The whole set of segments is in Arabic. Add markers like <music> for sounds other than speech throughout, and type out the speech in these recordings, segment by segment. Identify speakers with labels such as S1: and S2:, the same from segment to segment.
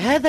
S1: هذا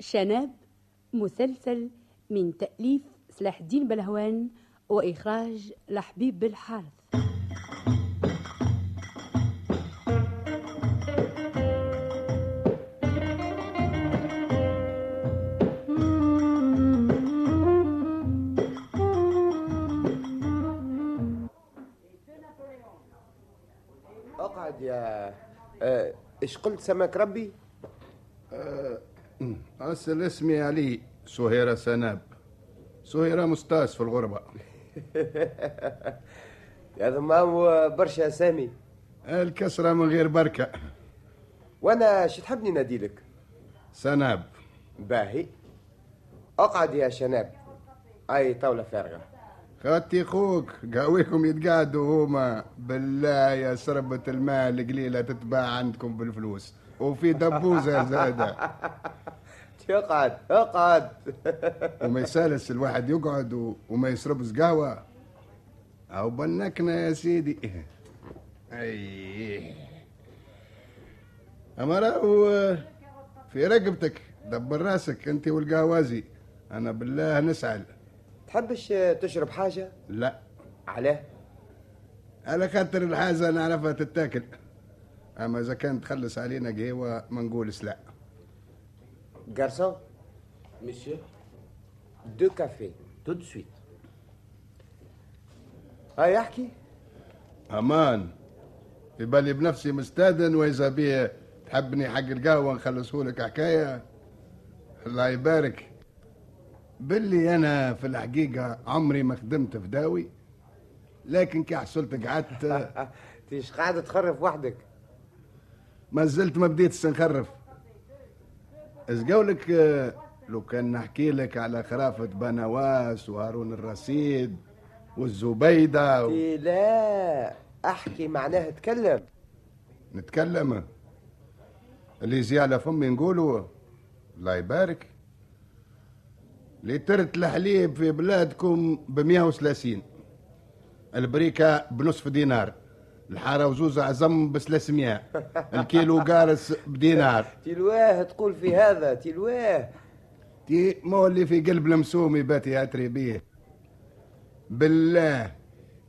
S2: شناب مسلسل من تأليف سلاح الدين بلهوان وإخراج لحبيب بالحارث
S3: اقعد يا آه، ايش قلت سماك ربي
S4: أصل اسمي علي سهيرة سناب سهيرة مستاس في الغربة
S3: يا ضمام برشا اسامي
S4: الكسرة من غير بركة
S3: وانا شو تحبني ناديلك
S4: سناب
S3: باهي اقعد يا شناب اي طاوله <laughs> فارغه
S4: خاتي خوك قاويكم يتقعدوا هما بالله يا سربة الماء القليلة تتباع عندكم بالفلوس وفي دبوزة زادة
S3: اقعد اقعد
S4: وما يسالس الواحد يقعد و... وما يشربش قهوة أو بنكنا يا سيدي أيه أما راهو في رقبتك دبر راسك أنت والقهوازي أنا بالله نسعل
S3: <laughs> تحبش تشرب حاجه
S4: لا
S3: علاه
S4: على خاطر الحاجة نعرفها تتاكل أما إذا كان تخلص علينا قهوة ما نقولش لا
S3: جارسون
S5: Monsieur,
S3: دو كافي
S5: tout de suite.
S3: هاي <laughs> احكي
S4: أمان في بالي بنفسي مستأذن وإذا بيه تحبني حق القهوة نخلصهولك حكاية الله يبارك باللي أنا في الحقيقة عمري ما خدمت في داوي لكن كي
S3: <laughs>
S4: حصلت قعدت
S3: آه، تيش قاعد تخرف وحدك
S4: ما زلت ما بديتش نخرف اش قولك آه، لو كان نحكي لك على خرافة بنواس وهارون الرصيد والزبيدة و...
S3: تي إيه، لا احكي معناها تكلم
S4: نتكلم اللي يجي على فمي نقولوا الله يبارك لترة الحليب في بلادكم ب 130 البريكة بنصف دينار الحارة وزوز عزم ب 300 الكيلو قارس بدينار
S3: تلواه تقول في هذا تلواه
S4: تي مولي في قلب المسومي باتي اتري بيه بالله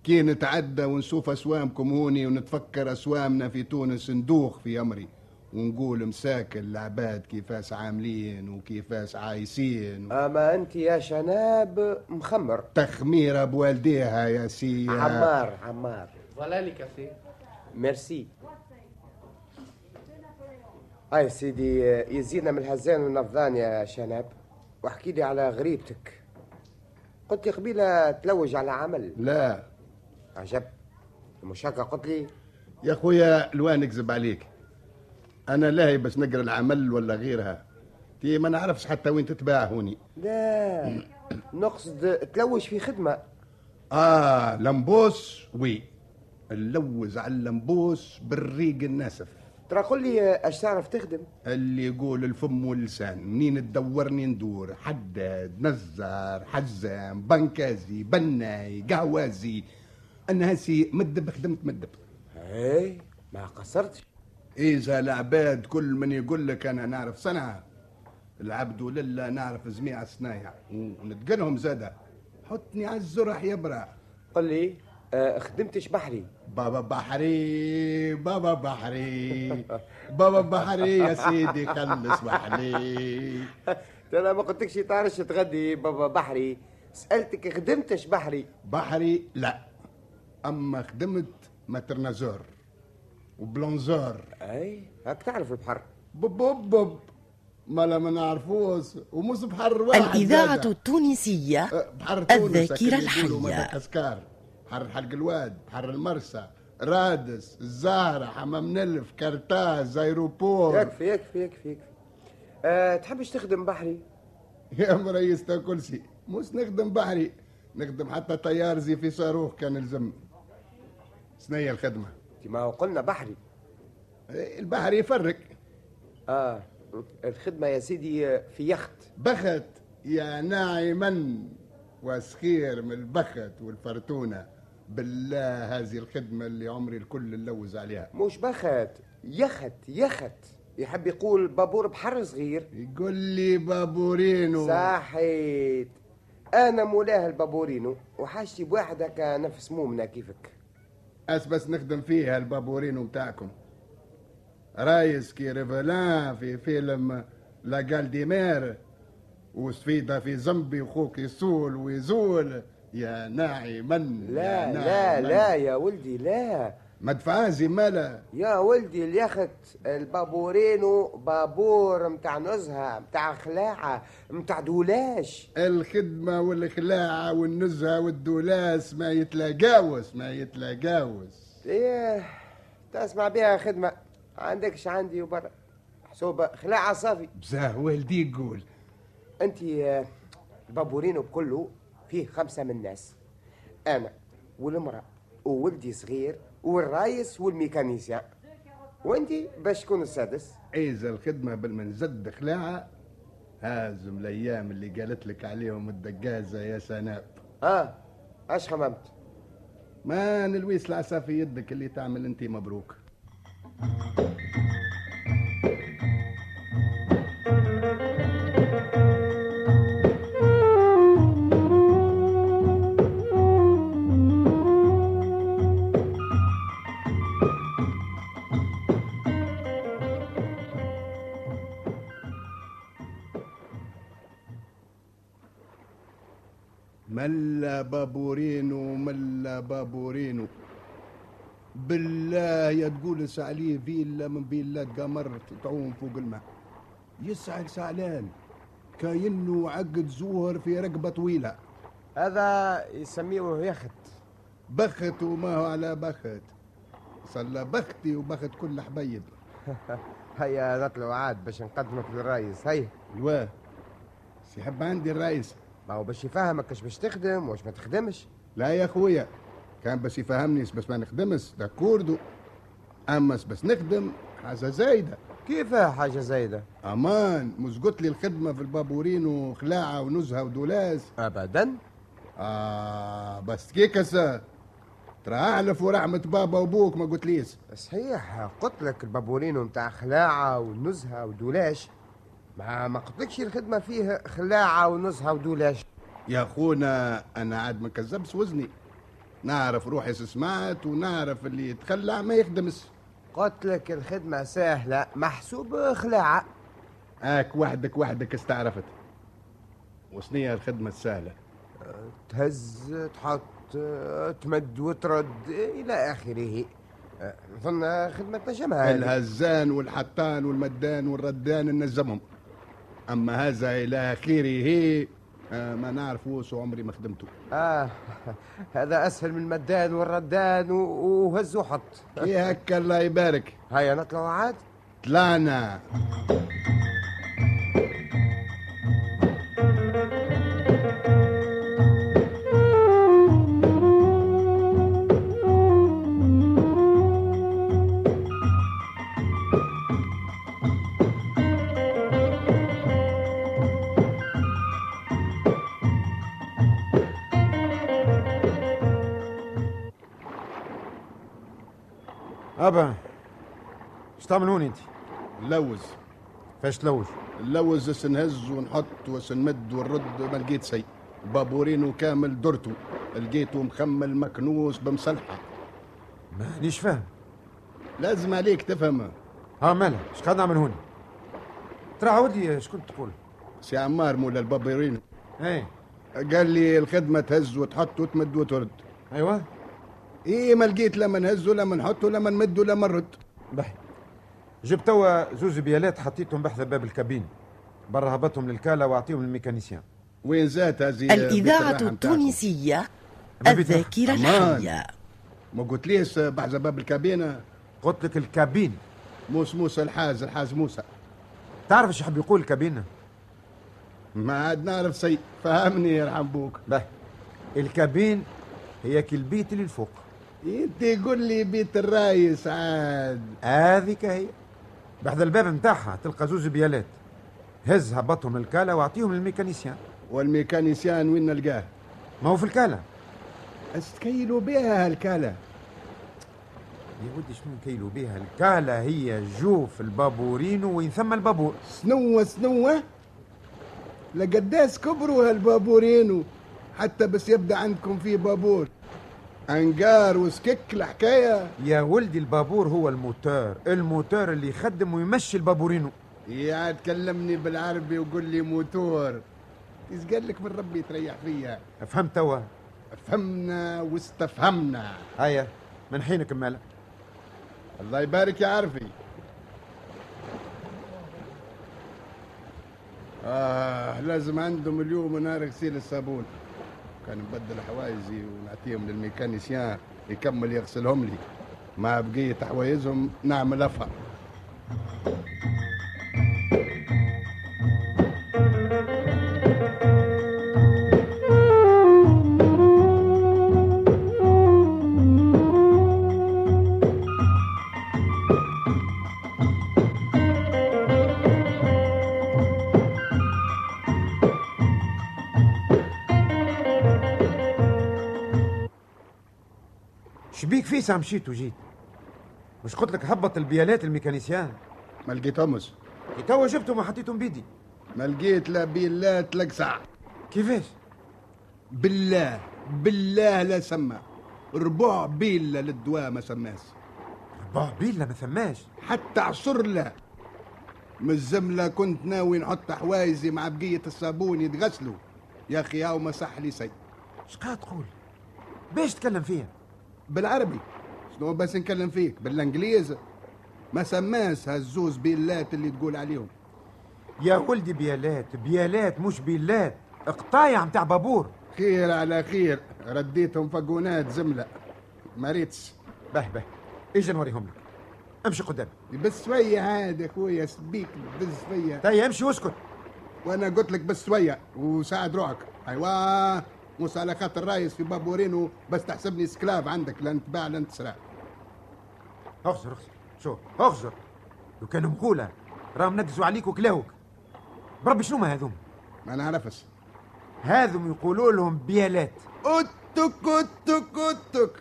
S4: كي نتعدى ونشوف اسوامكم هوني ونتفكر اسوامنا في تونس ندوخ في امري ونقول مساكن العباد كيفاش عاملين وكيفاش عايشين
S3: اما انت يا شناب مخمر
S4: تخميره بوالديها يا سي
S3: عمار عمار
S5: Voilà les cafés.
S3: ميرسي هاي سيدي يزيدنا من الهزان والنفضان يا شناب واحكي لي على غريبتك قلت لي قبيله تلوج على عمل
S4: لا
S3: عجب مش هكا قلت لي
S4: يا خويا الوان نكذب عليك انا لاهي باش نقرا العمل ولا غيرها تي ما نعرفش حتى وين تتباع هوني
S3: لا نقصد تلوج في خدمه
S4: آه لمبوس وي نلوز على اللمبوس بالريق الناسف
S3: ترى قل لي اش تعرف تخدم
S4: اللي يقول الفم واللسان منين تدورني ندور حداد نزار حزام بنكازي بناي قهوازي انا هسي مدب خدمت مدب
S3: اي إيه، ما قصرتش
S4: اذا العباد كل من يقول لك انا نعرف صنعه العبد لله نعرف جميع الصنايع ونتقنهم زاده حطني على الزرح يبرع
S3: قل لي آه، خدمتش بحري <laughs>
S4: بابا بحري بابا بحري بابا بحري يا سيدي خلص بحري
S3: انا ما قلتكش تعرفش تغدي بابا بحري سالتك خدمتش بحري
S4: بحري لا اما خدمت ماترنازور وبلونزور
S3: اي هاك تعرف البحر
S4: بوب بوب بوب ما لا ما نعرفوش ومش بحر واحد
S1: الإذاعة
S4: زادة.
S1: التونسية
S4: أه، بحر تونس
S1: الذاكرة
S4: هكا يقولوا
S1: الحية
S4: مدغشقر بحر حلق الواد بحر المرسى رادس الزهرة حمام نلف كرتاز ايروبور
S3: يكفي يكفي يكفي يكفي أه تحبش تخدم بحري
S4: يا <laughs> مريس تا كلسي مش نخدم بحري نخدم حتى طيار زي في صاروخ كان لزم سنية الخدمة
S3: انت ما هو قلنا بحري
S4: أه، البحر يفرق
S3: اه الخدمة يا سيدي آه، في يخت
S4: بخت يا ناعما وسخير من البخت والفرتونة بالله هذه الخدمة اللي عمري الكل نلوز عليها
S3: مش بخت يخت يخت يحب يقول بابور بحر صغير
S4: يقول لي بابورينو
S3: صحيت انا مولاه البابورينو وحاجتي بواحد هكا نفس مومنا كيفك
S4: أس بس نخدم فيها البابورينو متاعكم رايس كي ريفلان في فيلم لا جال دي مير وسفيدة في زنبي وخوك يسول ويزول يا ناعما
S3: لا
S4: يا نعم،
S3: لا
S4: ناعما.
S3: لا يا ولدي لا
S4: مدفعازي مالا
S3: يا ولدي اليخت البابورينو بابور متاع نزهة متاع خلاعة متاع دولاش
S4: الخدمة والخلاعة والنزهة والدولاس ما يتلاقاوش ما يتلاقاوش
S3: ايه تسمع بها خدمة عندكش عندي وبرا حسوبة خلاعة صافي
S4: بزاه والدي يقول
S3: انت آه، البابورينو بكله فيه خمسة من الناس انا والمرأة وولدي صغير والرايس والميكانيسيان وانت باش تكون السادس
S4: إذا الخدمة بالمنزد خلاعة هازم الأيام اللي قالت لك عليهم الدقازة يا سناب
S3: اه اش خممت
S4: ما نلويس العصا في يدك اللي تعمل انت مبروك ملا بابورينو ملا بابورينو بالله يا تقول عليه فيلا من فيلات قمر تعوم فوق الماء يسعد سعلان كاينه عقد زوهر في رقبة طويلة
S3: هذا يسميوه يخت
S4: بخت وما هو على بخت صلى بختي وبخت كل حبيب
S3: هيا نطلعوا عاد باش نقدمك للرايس هيا
S4: الواه سيحب عندي الرئيس
S3: ما هو باش يفهمك اش باش تخدم واش ما تخدمش
S4: لا يا خويا كان بس يفهمني بس ما نخدمش ده كوردو اما بس نخدم حاجه زايده
S3: كيفاه حاجة زايدة
S4: امان مش قلت لي الخدمه في البابورين وخلاعه ونزهه ودولاس
S3: أبدا
S4: اه بس كيكسه ترى اعلف ورحمه بابا وبوك ما قلت ليش
S3: صحيح قلت لك البابورينو متاع خلاعة ونزهة ودولاش ما ما قلتلكش الخدمة فيه خلاعة ونزهة ودولاش
S4: يا خونا انا عاد ما كذبش وزني نعرف روحي سمعت ونعرف اللي يتخلع ما يخدمش
S3: قلت لك الخدمة سهلة محسوب خلاعة
S4: هاك وحدك وحدك استعرفت وصنية الخدمة السهلة
S3: تهز تحط آه، تمد وترد آه، إلى آخره آه، نظن خدمة نجمها هذه.
S4: الهزان والحطان والمدان والردان نجمهم اما هذا الى اخره آه، ما نعرفوش وعمري ما خدمته
S3: آه <laughs> هذا أسهل من المدان والردان و- وهز وحط
S4: ايه هكا الله يبارك
S3: هيا نطلعوا عاد
S4: طلعنا
S6: أبا اش تعملوني انت؟
S4: نلوز
S6: فاش تلوج؟
S4: نلوز اس نهز ونحط واس نمد ونرد ما لقيت شيء بابورينو كامل درته لقيته مخمل مكنوس بمصلحه
S6: مانيش فاهم
S4: لازم عليك تفهمه
S6: ها مالا اش قاعد نعمل هوني؟ ترى عاودي اش كنت تقول؟
S4: سي عمار مولا البابورينو
S6: ايه
S4: قال لي الخدمه تهز وتحط وتمد وترد
S6: ايوه
S4: ايه ما لقيت لا ما نهز ولا ما نحط ولا ما نمد ولا ما نرد
S6: بحي جبت توا زوز بيالات حطيتهم بحذا باب الكابين
S3: برا هبطهم للكالا واعطيهم للميكانيسيان
S4: وين زات هذه آه،
S1: الإذاعة
S4: بتراحة متاعكم؟
S1: التونسية
S3: ما بيتنا.
S1: الذاكرة
S4: أمان.
S1: الحية
S4: ما قلتليش بحذا باب الكابينة
S3: قلت لك الكابين
S4: موس موسى الحاج الحاج موسى
S3: تعرف ايش يحب يقول الكابين
S4: ما عاد نعرف شيء فهمني يرحم بوك
S3: به الكابين هي كلبيت اللي الفوق
S4: انت قول لي بيت الرايس عاد
S3: هذيك هي بحذا الباب متاعها تلقى زوز بيالات هز هبطهم الكالا واعطيهم للميكانيسيان
S4: والميكانيسيان وين نلقاه
S3: ما هو في الكالا
S4: اش تكيلوا بها هالكاله
S3: يا ودي شنو نكيلوا بيها الكالا هي جوف البابورين وين ثم البابور
S4: سنوة سنوة لقداس كبروا هالبابورين حتى بس يبدا عندكم فيه بابور انقار وسكك الحكايه
S3: يا ولدي البابور هو الموتور الموتور اللي يخدم ويمشي البابورينو
S4: يا تكلمني بالعربي وقول لي موتور ايش قال لك من ربي تريح فيا
S3: فهمت توا
S4: فهمنا واستفهمنا
S3: هيا من حينك مالا
S4: الله يبارك يا عرفي آه لازم عندهم اليوم نهار غسيل الصابون كان نبدل حوايجي ونعطيهم للميكانيسيان يكمل يغسلهم لي مع بقية حوايجهم نعمل أفهم
S3: شبيك فيسا مشيت وجيت مش قلت لك هبط البيالات الميكانيسيان
S4: ما لقيتهمش
S3: كي توا جبتهم وحطيتهم بيدي
S4: ما لقيت لا بيلات لا قسع
S3: كيفاش
S4: بالله بالله لا سما ربع بيلا للدواء ما سماش
S3: ربع بيلا ما ثماش
S4: حتى عصر له من الزملة كنت ناوي نحط حوايزي مع بقية الصابون يتغسلوا يا أخي هاو ما صح لي شيء
S3: شقا تقول باش تكلم فيها
S4: بالعربي شنو بس نكلم فيك بالانجليزي ما سماش هالزوز بيلات اللي تقول عليهم
S3: يا ولدي بيالات بيالات مش بيلات قطايع متاع بابور
S4: خير على خير رديتهم فقونات زملة ما ريتش
S3: به به اجي نوريهم لك امشي قدامي
S4: بس شوية عاد يا خويا سبيك بس شوية
S3: تاي امشي واسكت
S4: وانا قلت لك بس شوية وساعد روحك ايوا موس على خاطر الرايس في بابورينو بس تحسبني سكلاف عندك لن تباع لن تسرق
S3: اخزر اخزر شوف اخزر لو كانوا مقولة راهم نقزوا عليك وكلاوك بربي شنو ما هذوم
S4: ما نعرفش
S3: هذوم يقولوا لهم بيالات
S4: اتك اتك اتك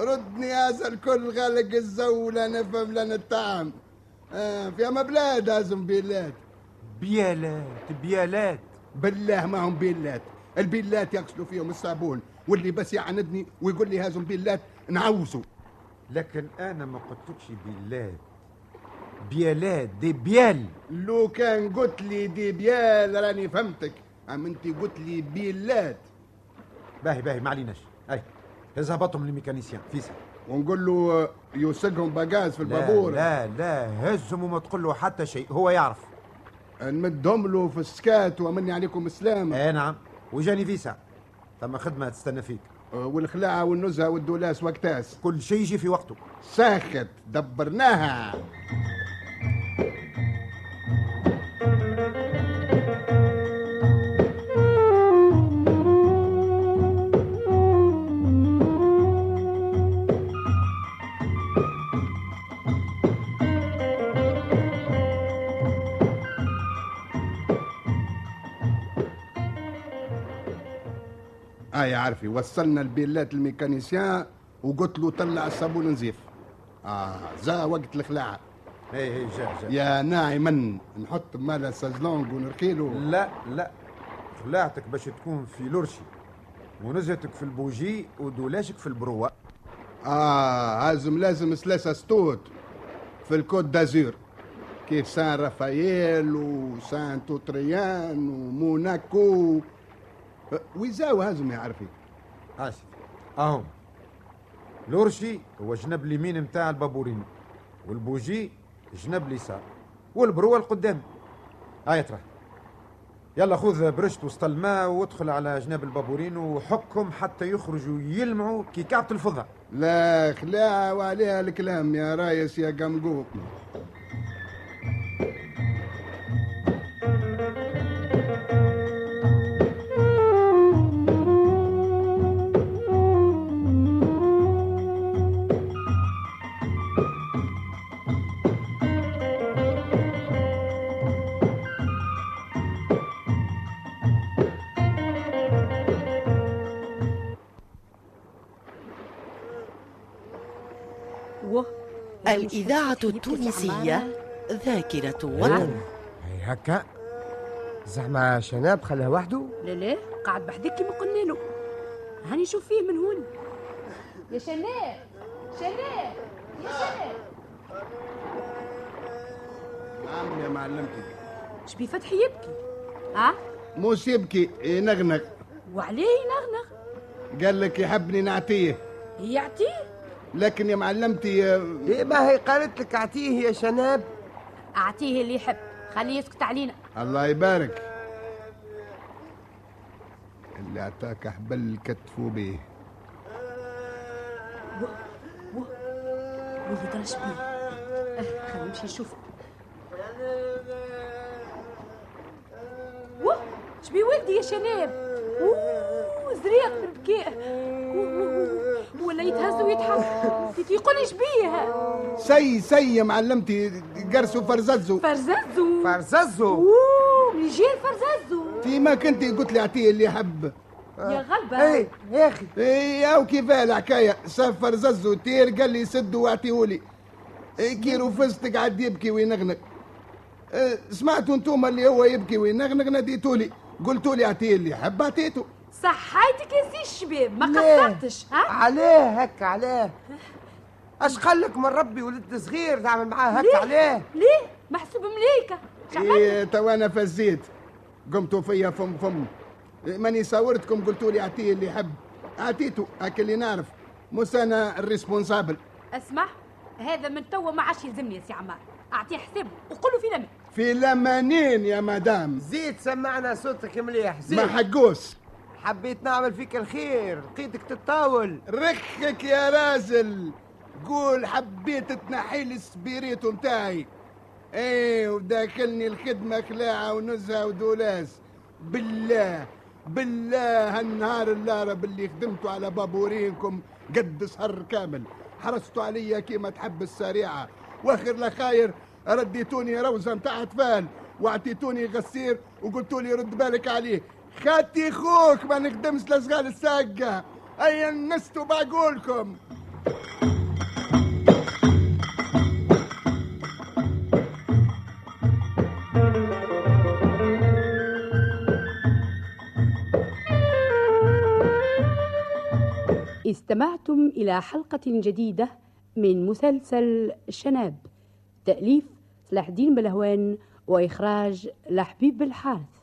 S4: ردني هذا الكل غلق الزو لا نفهم لا نتعم آه في اما بلاد لازم بيلات
S3: بيالات بيالات
S4: بالله ما هم بيلات البيلات يغسلوا فيهم الصابون واللي بس يعاندني ويقول لي هازم بيلات نعوزه
S3: لكن انا ما قلتلكش بيلات بيالات دي بيال
S4: لو كان قلت لي دي بيال راني فهمتك اما انت قلت لي بيلات
S3: باهي باهي ما عليناش اي هز هبطهم للميكانيسيان فيسا
S4: ونقول له آه، يوسقهم بقاز في
S3: لا
S4: البابور
S3: لا لا هزهم وما تقول له حتى شيء هو يعرف
S4: آه، نمدهم له في السكات ومني عليكم السلامه
S3: اي نعم وجاني فيسا ثم خدمه تستنى فيك
S4: والخلاعه والنزهه آه، والدولاس وكتاس
S3: كل شيء يجي في وقته
S4: ساخت دبرناها اه يا عارفي وصلنا البيلات الميكانيسيان وقلت له طلع الصابون نزيف اه زا وقت الخلاعه
S3: اي اي جا جا
S4: يا ناعما نحط مالا سازلونج ونرقيله
S3: لا لا خلاعتك باش تكون في لورشي ونزهتك في البوجي ودولاشك في البروة
S4: اه لازم لازم ثلاثه ستوت في الكوت دازور كيف سان رافائيل وسان توتريان وموناكو آه، ويزاو هازم يا عارفي
S3: اسف اهم لورشي هو جنب اليمين نتاع البابورين والبوجي جنب اليسار والبروة القدام هيا ترى
S6: يلا خذ برشت وسط الماء وادخل على جناب البابورين وحكهم حتى يخرجوا يلمعوا كي كعبة الفضة
S4: لا خلاعة وعليها الكلام يا رايس يا قمقوم
S2: وه
S1: الإذاعة التونسية ذاكرة وطن
S3: هي هكا زعما شناب خلاه وحده
S2: لا لا قاعد بحدك كيما قلنا له هاني شوف فيه من هون
S7: يا شناب شناب يا شناب
S4: نعم يا معلمتي
S2: شبي فتحي يبكي اه
S4: موس يبكي ينغنغ
S2: وعليه ينغنغ
S4: إيه، قال لك يحبني نعطيه
S2: يعطيه
S4: لكن يا معلمتي آه،
S3: ما هي قالت لك اعطيه يا شناب
S2: اعطيه اللي يحب خليه يسكت علينا
S4: الله يبارك اللي اعطاك حبل كتفوا به
S2: ولدي درش بيه آه، خلينا نمشي نشوف واه شبي ولدي يا شناب اوه زريق في البكاء أوه، أوه، أوه. ولا يتهز ويتحرك يقول لي شبيه
S4: سي سي يا معلمتي قرصوا فرززوا
S2: فرزازو
S3: فرززه
S2: اوه من جيل فرزازو
S4: فيما كنت قلت لي اعطيه اللي يحب
S2: يا غلبة
S3: اي إيه، يا اخي
S4: ايه وكيف الحكايه سافر ززو تير قال لي سد واعطيهولي إيه، كي رفزتك قعد يبكي وينغنغ إيه، سمعتوا انتم اللي هو يبكي وينغنغ ناديتولي قلتوا لي اعطيه اللي يحب اعطيته
S2: صحيتك يا سي الشباب ما
S3: ليه؟
S2: قصرتش ها
S3: علاه هكا علاه اش قال لك من ربي ولد صغير تعمل معاه هكا علاه
S2: ليه محسوب مليكة شعمل
S4: إيه توا انا فزيت قمتوا فيا فم فم إيه، ماني صورتكم قلتوا لي اعطيه اللي يحب اعطيته هاك اللي نعرف مش انا الريسبونسابل
S2: اسمع هذا من توا ما عادش يلزمني يا سي عمار اعطيه حسابه وقوله في لمن
S4: في لمانين يا مدام
S3: زيد سمعنا صوتك مليح
S4: ما
S3: زيد
S4: حقوش
S3: حبيت نعمل فيك الخير لقيتك تتطاول
S4: رخك يا رازل قول حبيت تنحي لي السبيريتو متاعي ايه وداخلني الخدمة خلاعة ونزهة ودولاس بالله بالله هالنهار اللارب اللي خدمتوا على بابورينكم قد سهر كامل حرصتوا عليا كيما تحب السريعة واخر لخاير رديتوني روزة متاع اطفال واعطيتوني غسير وقلتوا لي رد بالك عليه خاتي خوك ما نخدمش لصغار الساقة اي نستوا بعقولكم
S2: استمعتم إلى حلقة جديدة من مسلسل شناب تأليف صلاح الدين بلهوان وإخراج لحبيب الحارث